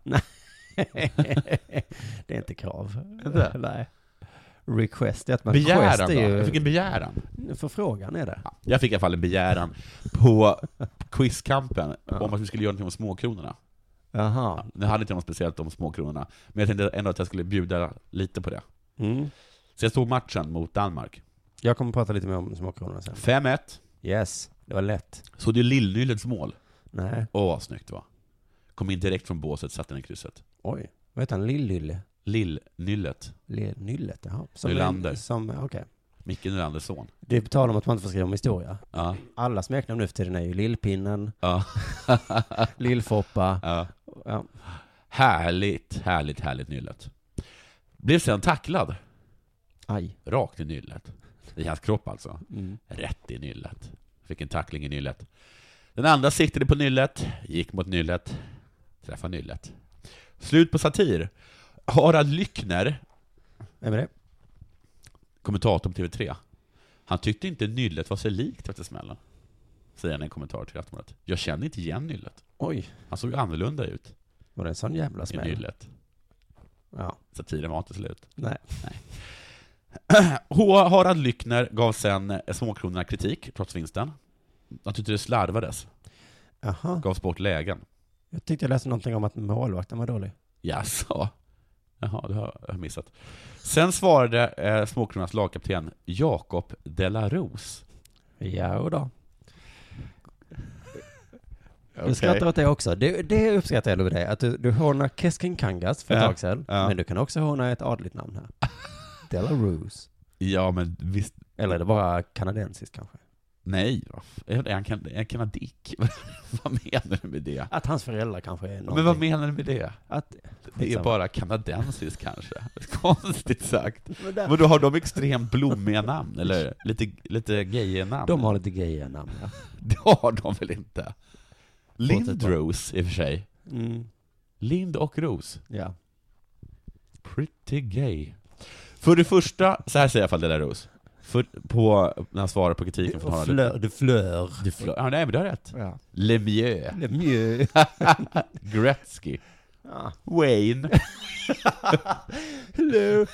[SPEAKER 3] det är inte krav.
[SPEAKER 4] Inte?
[SPEAKER 3] Nej. request är att man request
[SPEAKER 4] Begäran
[SPEAKER 3] är
[SPEAKER 4] då?
[SPEAKER 3] ju,
[SPEAKER 4] Jag fick en begäran.
[SPEAKER 3] Förfrågan är det.
[SPEAKER 4] Ja, Jag fick i alla fall en begäran på quizkampen om att vi skulle göra någonting om småkronorna.
[SPEAKER 3] Jaha.
[SPEAKER 4] Nu hade inte jag något speciellt om småkronorna, men jag tänkte ändå att jag skulle bjuda lite på det.
[SPEAKER 3] Mm.
[SPEAKER 4] Så jag tog matchen mot Danmark.
[SPEAKER 3] Jag kommer prata lite mer om småkronorna sen.
[SPEAKER 4] 5-1.
[SPEAKER 3] Yes, det var lätt.
[SPEAKER 4] Så det är Lillnyllets mål.
[SPEAKER 3] Nej,
[SPEAKER 4] Åh, vad snyggt det var. Kom in direkt från båset, satte den i krysset.
[SPEAKER 3] oj. Vad heter han? Lill-Lylle?
[SPEAKER 4] Lillnyllet.
[SPEAKER 3] Lill-Nyllet? Jaha. Som
[SPEAKER 4] Nylander.
[SPEAKER 3] Som, okej.
[SPEAKER 4] Micke Nylanders son.
[SPEAKER 3] Det är på tal om att man inte får skriva om historia.
[SPEAKER 4] Ja,
[SPEAKER 3] Alla smeknamn nu för tiden är ju Lillpinnen,
[SPEAKER 4] ja,
[SPEAKER 3] Lillfoppa.
[SPEAKER 4] ja.
[SPEAKER 3] Ja.
[SPEAKER 4] Härligt, härligt, härligt nyllet. Blev sedan tacklad.
[SPEAKER 3] Aj.
[SPEAKER 4] Rakt i nyllet. I hans kropp alltså.
[SPEAKER 3] Mm.
[SPEAKER 4] Rätt i nyllet. Fick en tackling i nyllet. Den andra siktade på nyllet, gick mot nyllet, träffade nyllet. Slut på satir. Harald Lyckner,
[SPEAKER 3] Vem är det?
[SPEAKER 4] kommentator på TV3, han tyckte inte nyllet var sig likt efter smällen. Säger han i en kommentar till Aftonbladet. Jag känner inte igen nyllet.
[SPEAKER 3] Oj.
[SPEAKER 4] Han såg annorlunda ut
[SPEAKER 3] Var det en sån jävla
[SPEAKER 4] i
[SPEAKER 3] smäll?
[SPEAKER 4] nyllet.
[SPEAKER 3] Ja.
[SPEAKER 4] Satiren var inte slut.
[SPEAKER 3] Nej.
[SPEAKER 4] H. Harald Lyckner gav sen eh, småkronorna kritik, trots vinsten. Han tyckte det slarvades,
[SPEAKER 3] Jaha.
[SPEAKER 4] gavs bort lägen.
[SPEAKER 3] Jag tyckte jag läste någonting om att målvakten var dålig.
[SPEAKER 4] Jaså? Jaha, det har jag missat. Sen svarade eh, småkronornas lagkapten Jakob de la Rose.
[SPEAKER 3] Ja, och då. Du skrattar åt det också. Det, det uppskattar jag med dig, att du, du hånar Keskin Kangas för ett
[SPEAKER 4] Ja,
[SPEAKER 3] tag sedan,
[SPEAKER 4] ja.
[SPEAKER 3] men du kan också håna ett adligt namn här. Delarose.
[SPEAKER 4] Ja, men visst.
[SPEAKER 3] Eller är det bara kanadensiskt kanske?
[SPEAKER 4] Nej, vad f- är han kan- är han kanadick? vad menar du med det?
[SPEAKER 3] Att hans föräldrar kanske är någonting.
[SPEAKER 4] Men vad menar du med det?
[SPEAKER 3] Att,
[SPEAKER 4] Det är
[SPEAKER 3] Skitsamma.
[SPEAKER 4] bara kanadensiskt kanske. Konstigt sagt.
[SPEAKER 3] men där,
[SPEAKER 4] Vadå, har de extremt blommiga namn? Eller lite, lite gayiga namn?
[SPEAKER 3] de har lite gayiga namn. ja.
[SPEAKER 4] Det har de väl inte? Lindros i och för sig.
[SPEAKER 3] Mm,
[SPEAKER 4] Lind och Ros.
[SPEAKER 3] ja.
[SPEAKER 4] Pretty gay. För det första, så här säger i alla fall Dela Ros. För, på, när han svarar på kritiken från Harald.
[SPEAKER 3] Fleur, de Fleur.
[SPEAKER 4] Det flö- Ja, nej men du har rätt.
[SPEAKER 3] Ja.
[SPEAKER 4] Lemieux.
[SPEAKER 3] Le Mieux.
[SPEAKER 4] Gretzky.
[SPEAKER 3] Ja.
[SPEAKER 4] Wayne.
[SPEAKER 3] Hello,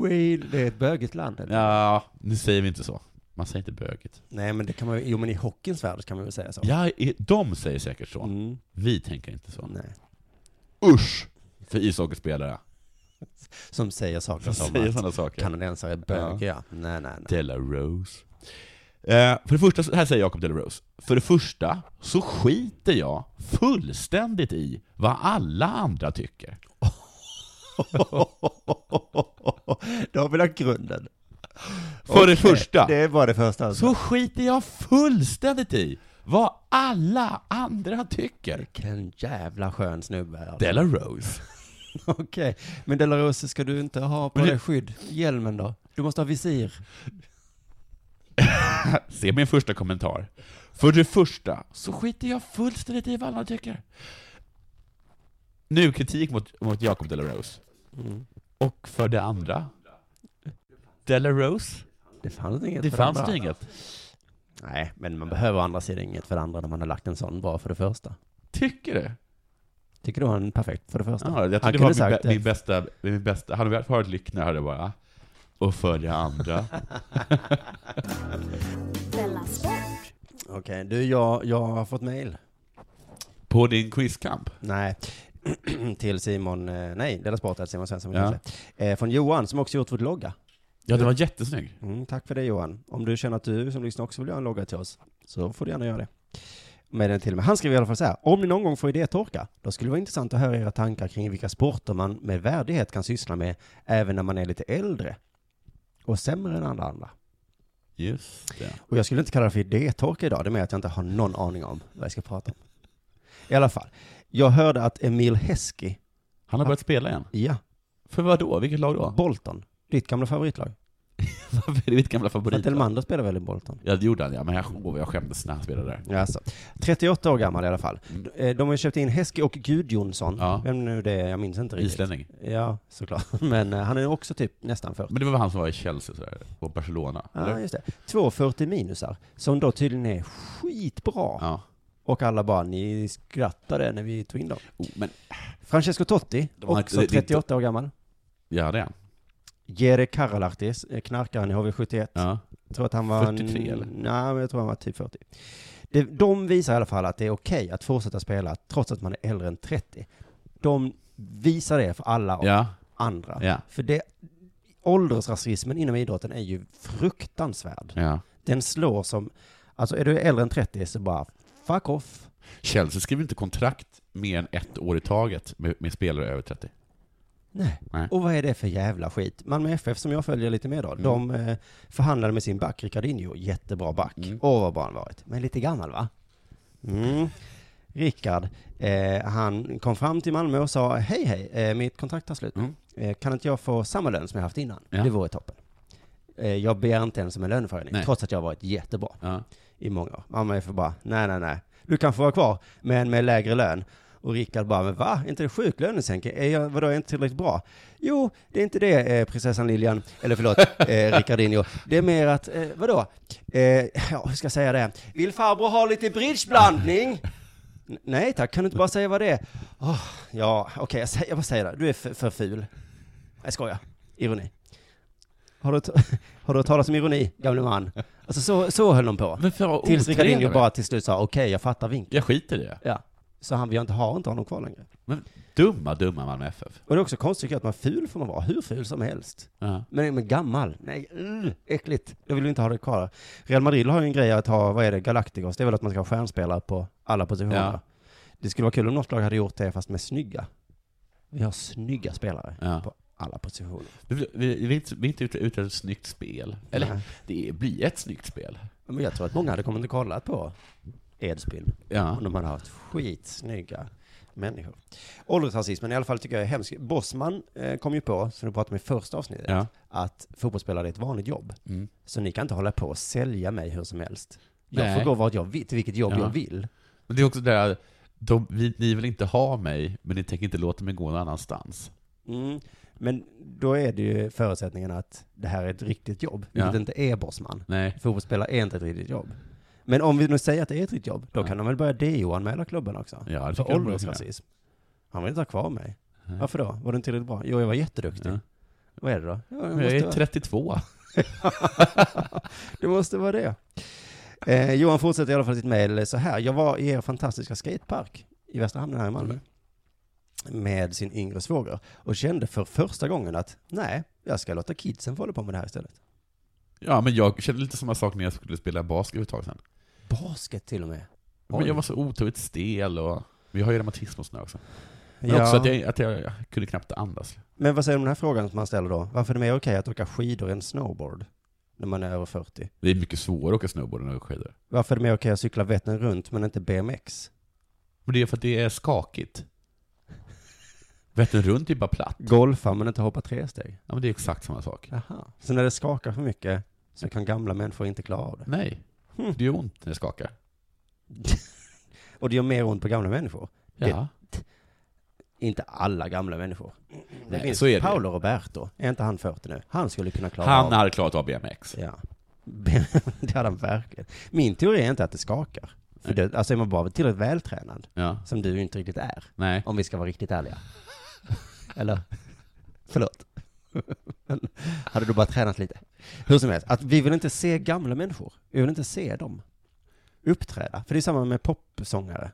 [SPEAKER 3] Wayne. Det är ett bögigt land. eller?
[SPEAKER 4] Ja, nu säger vi inte så. Man säger inte böget.
[SPEAKER 3] Nej, men det kan man ju, jo men i hockeyns värld kan man väl säga så.
[SPEAKER 4] Ja, Mm. i- de säger säkert så.
[SPEAKER 3] Mm.
[SPEAKER 4] Vi tänker inte så.
[SPEAKER 3] Nej.
[SPEAKER 4] Usch! För ishockeyspelare.
[SPEAKER 3] Som säger saker
[SPEAKER 4] Som
[SPEAKER 3] som
[SPEAKER 4] säger
[SPEAKER 3] att
[SPEAKER 4] sådana saker.
[SPEAKER 3] kanadensare är bögiga. Nej, nej, nej.
[SPEAKER 4] Della Rose. Eh, för det första, så här säger Jacob Della Rose. För det första så skiter jag fullständigt i vad alla andra tycker.
[SPEAKER 3] Då har vi lagt grunden.
[SPEAKER 4] För det första
[SPEAKER 3] Det var det första. alltså.
[SPEAKER 4] så skiter jag fullständigt i vad alla andra tycker.
[SPEAKER 3] Vilken jävla skön snubbe. Alltså.
[SPEAKER 4] Della Rose.
[SPEAKER 3] Okej, men Delarose ska du inte ha på
[SPEAKER 4] Men det-
[SPEAKER 3] dig skydd? Hjälmen då? Du måste ha visir.
[SPEAKER 4] Se min första kommentar. För det första så skiter jag fullständigt i vad alla tycker. Nu kritik mot, mot Jacob Della Rose.
[SPEAKER 3] Mm.
[SPEAKER 4] Och för det andra, Della Rose,
[SPEAKER 3] Det fanns inget
[SPEAKER 4] det
[SPEAKER 3] för
[SPEAKER 4] fanns
[SPEAKER 3] andra.
[SPEAKER 4] det inget.
[SPEAKER 3] Nej, men man behöver å andra sidan inget för det andra när man har lagt en sån bra för det första.
[SPEAKER 4] Tycker du?
[SPEAKER 3] Tycker du han är perfekt för det första?
[SPEAKER 4] Ja, jag
[SPEAKER 3] han
[SPEAKER 4] tyckte det var min,
[SPEAKER 3] sagt
[SPEAKER 4] bä- min, bästa, min bästa, hade vi hört Lyckner hade jag bara, och för det andra.
[SPEAKER 2] Della Sport!
[SPEAKER 3] Okej, du, jag, jag har fått mail.
[SPEAKER 4] På din quizkamp?
[SPEAKER 3] Nej, till Simon, eh, nej, Della Sport, att Simon Svensson.
[SPEAKER 4] Ja.
[SPEAKER 3] Eh, från Johan, som också gjort vår logga.
[SPEAKER 4] Ja, den var jättesnygg.
[SPEAKER 3] Mm, tack för det Johan. Om du känner att du som lyssnar också vill göra en logga till oss, så får du gärna göra det. Med den till mig. Han skriver i alla fall så här, om ni någon gång får idétorka, då skulle det vara intressant att höra era tankar kring vilka sporter man med värdighet kan syssla med, även när man är lite äldre och sämre än alla andra.
[SPEAKER 4] Just det.
[SPEAKER 3] Och jag skulle inte kalla det för idétorka idag, det är mer att jag inte har någon aning om vad jag ska prata om. I alla fall, jag hörde att Emil Heskey,
[SPEAKER 4] Han har börjat spela igen.
[SPEAKER 3] ja,
[SPEAKER 4] För vad då? Vilket lag då?
[SPEAKER 3] Bolton, ditt gamla favoritlag.
[SPEAKER 4] Varför är det mitt gamla
[SPEAKER 3] För att
[SPEAKER 4] favorit?
[SPEAKER 3] Elmander spelar väl i Bolton?
[SPEAKER 4] Ja, det gjorde han ja, men jag, oh, jag skämdes när han spelade där.
[SPEAKER 3] Ja, Alltså, 38 år gammal i alla fall.
[SPEAKER 4] Mm.
[SPEAKER 3] Eh, De har ju köpt in Heskey och Gudjonsson.
[SPEAKER 4] Ja.
[SPEAKER 3] Vem nu det är, jag minns inte riktigt.
[SPEAKER 4] Islänning.
[SPEAKER 3] Ja, såklart. Men eh, han är ju också typ nästan 40.
[SPEAKER 4] Men det var väl han som var i Chelsea sådär, och Barcelona?
[SPEAKER 3] Ah, Ja,
[SPEAKER 4] eller?
[SPEAKER 3] just det. Två 40 minusar, som då tydligen är skitbra.
[SPEAKER 4] ja.
[SPEAKER 3] Och alla bara, ni skrattade när vi tog in dem.
[SPEAKER 4] Oh, men,
[SPEAKER 3] Francesco Totti,
[SPEAKER 4] De har
[SPEAKER 3] också
[SPEAKER 4] inte- det- det-
[SPEAKER 3] 38 år gammal.
[SPEAKER 4] ja det är han.
[SPEAKER 3] Jere Karalahti, eh, knarkaren i HV71.
[SPEAKER 4] Ja.
[SPEAKER 3] Jag tror att han var...
[SPEAKER 4] 43 eller?
[SPEAKER 3] Nej, men jag tror han var typ 40. Det, de visar i alla fall att det är okej att fortsätta spela trots att man är äldre än 30. De visar det för alla och
[SPEAKER 4] Ja.
[SPEAKER 3] andra.
[SPEAKER 4] Ja.
[SPEAKER 3] För det, åldersrasismen inom idrotten är ju fruktansvärd.
[SPEAKER 4] ja.
[SPEAKER 3] Den slår som, alltså är du äldre än 30 så bara fuck off.
[SPEAKER 4] Chelsea skriver inte kontrakt mer än ett år i taget med, med spelare över 30.
[SPEAKER 3] Nej.
[SPEAKER 4] Nej. Mm.
[SPEAKER 3] Och vad är det för jävla skit? Malmö FF som jag följer lite mer då, de eh, förhandlade med sin back Ricardinho, jättebra back.
[SPEAKER 4] Mm.
[SPEAKER 3] Åh vad bra han varit. Men lite gammal va? Mm. Rickard, eh, han kom fram till Malmö och sa hej hej, eh, mitt kontrakt tar slut.
[SPEAKER 4] Mm.
[SPEAKER 3] Eh, kan inte jag få samma lön som jag haft innan?
[SPEAKER 4] Ja.
[SPEAKER 3] Det vore toppen. Eh, jag begär inte ens om en löneförhöjning,
[SPEAKER 4] Nej.
[SPEAKER 3] trots att jag har varit jättebra.
[SPEAKER 4] Ja.
[SPEAKER 3] i många år. Mamma är för bara, nej, nej, nej. Du kan få vara kvar, men med lägre lön. Och Rickard bara, men va? Är inte det sjuklönesänkning? Är jag, vadå, är jag inte tillräckligt bra? Jo, det är inte det, eh, prinsessan Lilian, eller förlåt, eh, Rickardinho. Det är mer att, eh, vadå? Eh, ja, hur ska jag säga det? Vill farbror ha lite bridgeblandning? N- Nej tack, kan du inte bara säga vad det är? Åh, ja, okej, jag, säger- jag bara säger det. Du är för, för ful. Jag skojar. Ironi. Har du, t- har du hört talas om ironi, gamle man? Alltså så, så höll de på.
[SPEAKER 4] Men för
[SPEAKER 3] Tills Ricardinho
[SPEAKER 4] otrevligt.
[SPEAKER 3] bara till slut sa okej, jag fattar vinken.
[SPEAKER 4] Jag skiter i det.
[SPEAKER 3] Ja. Så han, vi har inte, har inte honom kvar längre.
[SPEAKER 4] Men dumma, dumma Malmö FF.
[SPEAKER 3] Och det är också konstigt tycker jag, att man ful får man vara, hur ful som helst.
[SPEAKER 4] Ja.
[SPEAKER 3] Men, men gammal, nej, uh, äckligt. Jag vill vi inte ha det kvar. Real Madrid har ju en grej att ha, vad är det, Galacticos, det är väl att man ska ha stjärnspelare på alla positioner.
[SPEAKER 4] Ja.
[SPEAKER 3] Det skulle vara kul om något lag hade gjort det fast med snygga. Vi har snygga spelare
[SPEAKER 4] Ja.
[SPEAKER 3] på alla positioner.
[SPEAKER 4] Vi, vi, vi, är inte- vi är inte ute efter ett snyggt spel. Eller,
[SPEAKER 3] Nej.
[SPEAKER 4] det blir ett snyggt spel.
[SPEAKER 3] Men jag tror att många hade kommit och kollat på Edsbyn.
[SPEAKER 4] Ja.
[SPEAKER 3] Om de hade haft skitsnygga människor. Åldersrasismen i alla fall tycker jag är hemsk. Bosman eh, kom ju på, som du pratade om i första avsnittet,
[SPEAKER 4] Ja.
[SPEAKER 3] att fotbollsspelare är ett vanligt jobb.
[SPEAKER 4] Mm.
[SPEAKER 3] Så ni kan inte hålla på och sälja mig hur som helst. Jag
[SPEAKER 4] Nej.
[SPEAKER 3] får gå vart jag vill, till vilket jobb
[SPEAKER 4] Ja.
[SPEAKER 3] jag vill.
[SPEAKER 4] Men det är också det här, de, vi, ni vill inte ha mig, men ni tänker inte låta mig gå någon annanstans.
[SPEAKER 3] Mm. Men då är det ju förutsättningen att det här är ett riktigt jobb, vilket
[SPEAKER 4] Ja.
[SPEAKER 3] det inte är Bosman.
[SPEAKER 4] Nej.
[SPEAKER 3] Fotbollsspelare är inte ett riktigt jobb. Men om vi nu säger att det är ett riktigt jobb, då
[SPEAKER 4] Ja.
[SPEAKER 3] kan de väl börja DO-anmäla klubben också?
[SPEAKER 4] Ja, det
[SPEAKER 3] För
[SPEAKER 4] tycker jag de borde kunna.
[SPEAKER 3] åldersrasism. Han vill inte ha kvar mig.
[SPEAKER 4] Nej.
[SPEAKER 3] Varför då? Var du inte tillräckligt bra? Jo, jag var jätteduktig.
[SPEAKER 4] Ja.
[SPEAKER 3] Vad är det då? Ja,
[SPEAKER 4] Jag är
[SPEAKER 3] måste
[SPEAKER 4] 32.
[SPEAKER 3] vara- det måste vara det. Eh, Johan fortsätter i alla fall sitt mejl så här. Jag var i er fantastiska skatepark i Västra Hamnen här i Malmö med sin yngre svåger och kände för första gången att nej, jag ska låta kidsen få hålla på med det här istället.
[SPEAKER 4] Ja, men jag kände lite samma sak när jag skulle spela basket för ett tag sedan.
[SPEAKER 3] Basket till och med.
[SPEAKER 4] Men
[SPEAKER 3] Oj.
[SPEAKER 4] jag var så otroligt stel och... Vi har ju reumatism och sådär också. Men
[SPEAKER 3] Ja.
[SPEAKER 4] också att jag, att jag, jag kunde knappt andas.
[SPEAKER 3] Men vad säger du om den här frågan som man ställer då? Varför är det mer okej att åka skidor än snowboard när man är över 40?
[SPEAKER 4] Det är mycket svårare att åka snowboard än att åka skidor.
[SPEAKER 3] Varför är det mer okej att cykla Vättern runt men inte BMX?
[SPEAKER 4] Men det är för att det är skakigt. Vättern runt är ju bara platt.
[SPEAKER 3] Golfa men inte hoppa tre steg?
[SPEAKER 4] Ja, men det är exakt samma sak.
[SPEAKER 3] Aha. Så när det skakar för mycket så kan gamla människor inte klara av det.
[SPEAKER 4] Nej,
[SPEAKER 3] Hmm.
[SPEAKER 4] det gör ont när det skakar.
[SPEAKER 3] Och det gör mer ont på gamla människor. Det-
[SPEAKER 4] Ja.
[SPEAKER 3] Inte alla gamla människor. Det
[SPEAKER 4] Nej,
[SPEAKER 3] finns
[SPEAKER 4] så är det.
[SPEAKER 3] Paolo Roberto, är inte han 40 nu? Han skulle kunna klara
[SPEAKER 4] Han
[SPEAKER 3] av
[SPEAKER 4] hade klarat av BMX.
[SPEAKER 3] Ja. det hade han verkligen. Min teori är inte att det skakar. För
[SPEAKER 4] Nej.
[SPEAKER 3] det, alltså är man bara tillräckligt vältränad,
[SPEAKER 4] Ja,
[SPEAKER 3] som du ju inte riktigt är.
[SPEAKER 4] nej.
[SPEAKER 3] Om vi ska vara riktigt ärliga. Eller? Förlåt. Men hade du bara tränat lite? Hur som helst, att vi vill inte se gamla människor. Vi vill inte se dem uppträda. För det är samma med popsångare.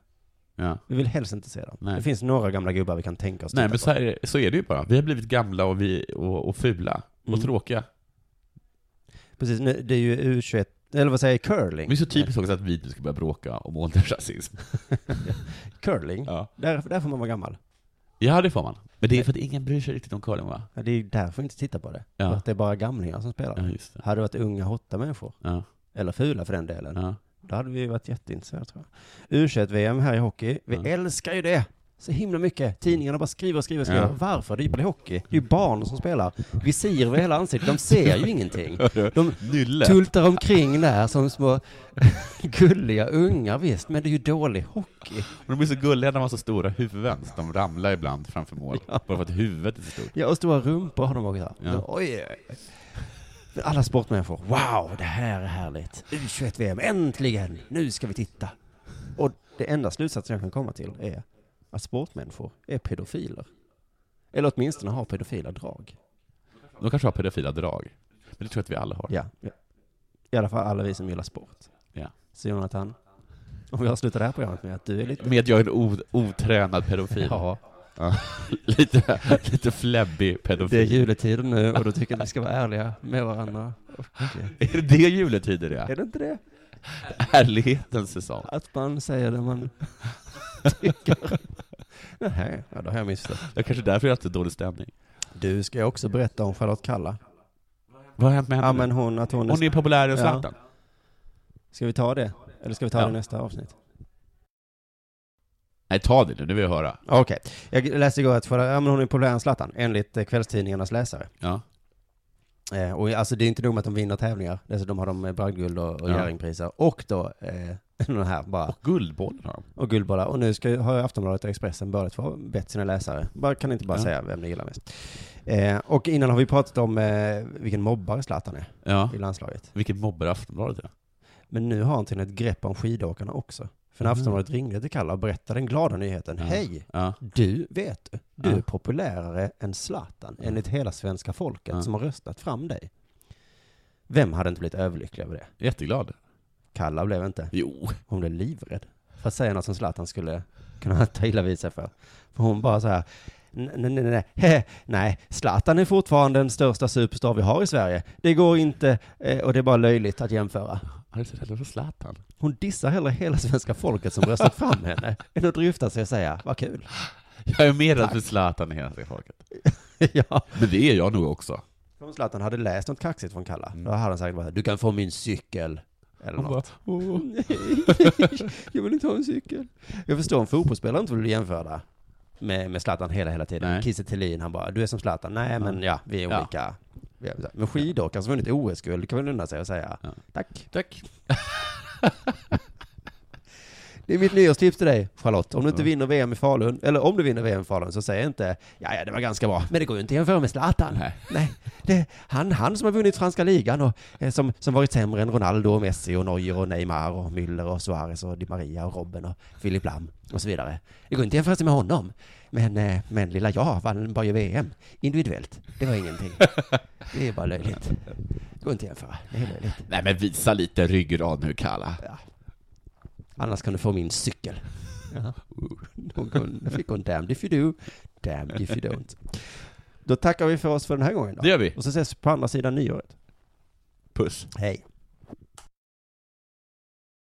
[SPEAKER 4] Ja.
[SPEAKER 3] Vi vill helst inte se dem.
[SPEAKER 4] Nej.
[SPEAKER 3] Det finns några gamla gubbar vi kan tänka oss
[SPEAKER 4] Nej,
[SPEAKER 3] titta
[SPEAKER 4] men
[SPEAKER 3] på.
[SPEAKER 4] så, här, är- så är det ju bara. Vi har blivit gamla och, vi, och, och fula.
[SPEAKER 3] Mm.
[SPEAKER 4] Och tråkiga.
[SPEAKER 3] Precis, nu, det är ju U21, eller vad säger jag, curling?
[SPEAKER 4] Men det är så typiskt också att vi nu ska börja bråka om åldersrasism.
[SPEAKER 3] Curling?
[SPEAKER 4] Ja.
[SPEAKER 3] Där, där får man vara gammal.
[SPEAKER 4] ja, det får man. Men det är för att ingen bryr sig riktigt om curling, va?
[SPEAKER 3] Ja, Det är därför vi inte tittar på det.
[SPEAKER 4] Ja.
[SPEAKER 3] För att det är bara gamlingar som spelar.
[SPEAKER 4] Ja, just det.
[SPEAKER 3] Hade det varit unga hotta människor,
[SPEAKER 4] Ja.
[SPEAKER 3] eller fula för den delen,
[SPEAKER 4] Ja.
[SPEAKER 3] Då hade vi varit jätteintresserade tror jag. U21-VM här i hockey. Vi
[SPEAKER 4] Ja.
[SPEAKER 3] älskar ju det! Så himla mycket. Tidningarna bara skriver och skriver och skriver.
[SPEAKER 4] Ja.
[SPEAKER 3] Varför? Det är ju bara hockey. Det är ju barn som spelar. Visir över hela ansiktet. De ser ju ingenting. De
[SPEAKER 4] Nylle.
[SPEAKER 3] tultar omkring där som små gulliga ungar visst, men det är ju dålig hockey.
[SPEAKER 4] Men de är så gulliga när de har så stora huvuden, så de ramlar ibland framför mål. Bara för att huvudet är så stort.
[SPEAKER 3] Ja, och stora rumpor har de också.
[SPEAKER 4] Ja.
[SPEAKER 3] Ja. Oj, oj, oj. Men alla sportmänniskor, wow, det här är härligt. U21-VM, äntligen! Nu ska vi titta. Och det enda slutsatsen jag kan komma till är att sportmänniskor är pedofiler. Eller åtminstone har pedofila drag.
[SPEAKER 4] De kanske har pedofila drag. Men det tror jag att vi alla har.
[SPEAKER 3] Ja. ja. I alla fall alla vi som gillar sport.
[SPEAKER 4] Ja.
[SPEAKER 3] Så Jonathan, om vi avslutar det här programmet med att du är lite...
[SPEAKER 4] Med att jag är en o- otränad pedofil.
[SPEAKER 3] Ja,
[SPEAKER 4] lite, lite fläbbig pedofil.
[SPEAKER 3] det är juletider nu och då tycker jag att vi ska vara ärliga med varandra. Och, eh,
[SPEAKER 4] Är det det juletider det
[SPEAKER 3] är
[SPEAKER 4] är?
[SPEAKER 3] det inte det?
[SPEAKER 4] Ärlighetens säsong.
[SPEAKER 3] Att man säger det man tycker. Nej, ja, då har jag missat.
[SPEAKER 4] Det är kanske därför jag har haft så dålig stämning.
[SPEAKER 3] Du ska ju också berätta om Charlotte Kalla.
[SPEAKER 4] Vad har hänt med henne?
[SPEAKER 3] Ja, men hon, att hon...
[SPEAKER 4] Hon är populärare än
[SPEAKER 3] Ja.
[SPEAKER 4] Zlatan.
[SPEAKER 3] Ska vi ta det? Eller ska vi ta
[SPEAKER 4] Ja.
[SPEAKER 3] det i nästa avsnitt?
[SPEAKER 4] Nej, ta det nu, nu vill jag höra.
[SPEAKER 3] Okej. Jag läste igår att Charlotte, ja, men hon är populärare än Zlatan, enligt eh, kvällstidningarnas läsare.
[SPEAKER 4] Ja.
[SPEAKER 3] Eh, och alltså det är inte nog med att de vinner tävlingar, dessutom har de eh, bragdguld och, och
[SPEAKER 4] Ja.
[SPEAKER 3] Jerringpriser. Och då, eh, den här bara,
[SPEAKER 4] Och Guldbollen har de.
[SPEAKER 3] och guldbollar. Och nu ska, ju- har ju Aftonbladet och Expressen börjat få bett sina läsare. Bara, kan inte bara
[SPEAKER 4] Ja.
[SPEAKER 3] säga vem ni gillar mest. Eh, och innan har vi pratat om eh, vilken mobbare Zlatan är
[SPEAKER 4] Ja.
[SPEAKER 3] i landslaget.
[SPEAKER 4] Vilket mobbare Aftonbladet är.
[SPEAKER 3] Men nu har han till ett grepp om skidåkarna också. För när
[SPEAKER 4] Mhm.
[SPEAKER 3] Aftonbladet ringde till Kalle och berättade den glada nyheten.
[SPEAKER 4] Ja.
[SPEAKER 3] Hej!
[SPEAKER 4] Ja.
[SPEAKER 3] Du, vet du, du
[SPEAKER 4] Ja.
[SPEAKER 3] är populärare än Zlatan,
[SPEAKER 4] Ja.
[SPEAKER 3] enligt hela svenska folket
[SPEAKER 4] Ja.
[SPEAKER 3] som har röstat fram dig. Vem hade inte blivit överlycklig över det?
[SPEAKER 4] Jätteglad.
[SPEAKER 3] Kalla blev inte.
[SPEAKER 4] Jo.
[SPEAKER 3] Hon blev livrädd. För att säga något som Zlatan skulle kunna ta illa vid sig för. För hon bara så här, "N- nej, nej, nej, nej, nej, Zlatan är fortfarande den största superstar vi har i Sverige. Det går inte, eh, och det är bara löjligt att jämföra.
[SPEAKER 4] Han är så rädd för Zlatan.
[SPEAKER 3] Hon dissar hellre hela svenska folket som röstat fram henne, än att dryfta sig och säga, vad kul.
[SPEAKER 4] Jag är mer rädd för Zlatan än hela svenska folket.
[SPEAKER 3] ja.
[SPEAKER 4] Men det är jag nog också.
[SPEAKER 3] Om Zlatan hade läst något kaxigt från Kalla, då hade han sagt bara, du kan få min cykel. Eller
[SPEAKER 4] Hon
[SPEAKER 3] något.
[SPEAKER 4] bara, åh.
[SPEAKER 3] jag vill inte ha en cykel. Jag förstår om fotbollsspelare inte vill bli jämförda med, med Zlatan hela, hela tiden.
[SPEAKER 4] Nej.
[SPEAKER 3] Kiese Thelin, han bara, du är som Zlatan. Nej, men ja, vi är
[SPEAKER 4] Ja.
[SPEAKER 3] olika. Vi är- Men skidåkaren som vunnit OS-guld kan väl unna sig och säga
[SPEAKER 4] Ja.
[SPEAKER 3] tack.
[SPEAKER 4] Tack.
[SPEAKER 3] Det är mitt nyårstips till dig, Charlotte. Om du inte
[SPEAKER 4] Ja.
[SPEAKER 3] vinner VM i Falun, eller om du vinner VM i Falun, så säg inte ja, ja, det var ganska bra, men det går ju inte att jämföra med Zlatan.
[SPEAKER 4] Nej.
[SPEAKER 3] Nej, det, han, han som har vunnit franska ligan och eh, som, som varit sämre än Ronaldo och Messi och Neuer och Neymar och Müller och Suarez och Di Maria och Robben och Filip Lam och så vidare. Det går inte att jämföra sig med honom. Men, eh, men lilla jag vann bara ju VM individuellt. Det var ingenting. Det är bara löjligt. Det går inte att jämföra. Det är löjligt.
[SPEAKER 4] Nej men visa lite ryggrad nu Kalla.
[SPEAKER 3] Annars kan du få min cykel. Hon kunde- fick hon damned if you do, damned if you don't. Då tackar vi för oss för den här gången då.
[SPEAKER 4] Det gör vi.
[SPEAKER 3] Och så ses vi på andra sidan nyåret.
[SPEAKER 4] Puss.
[SPEAKER 3] Hej.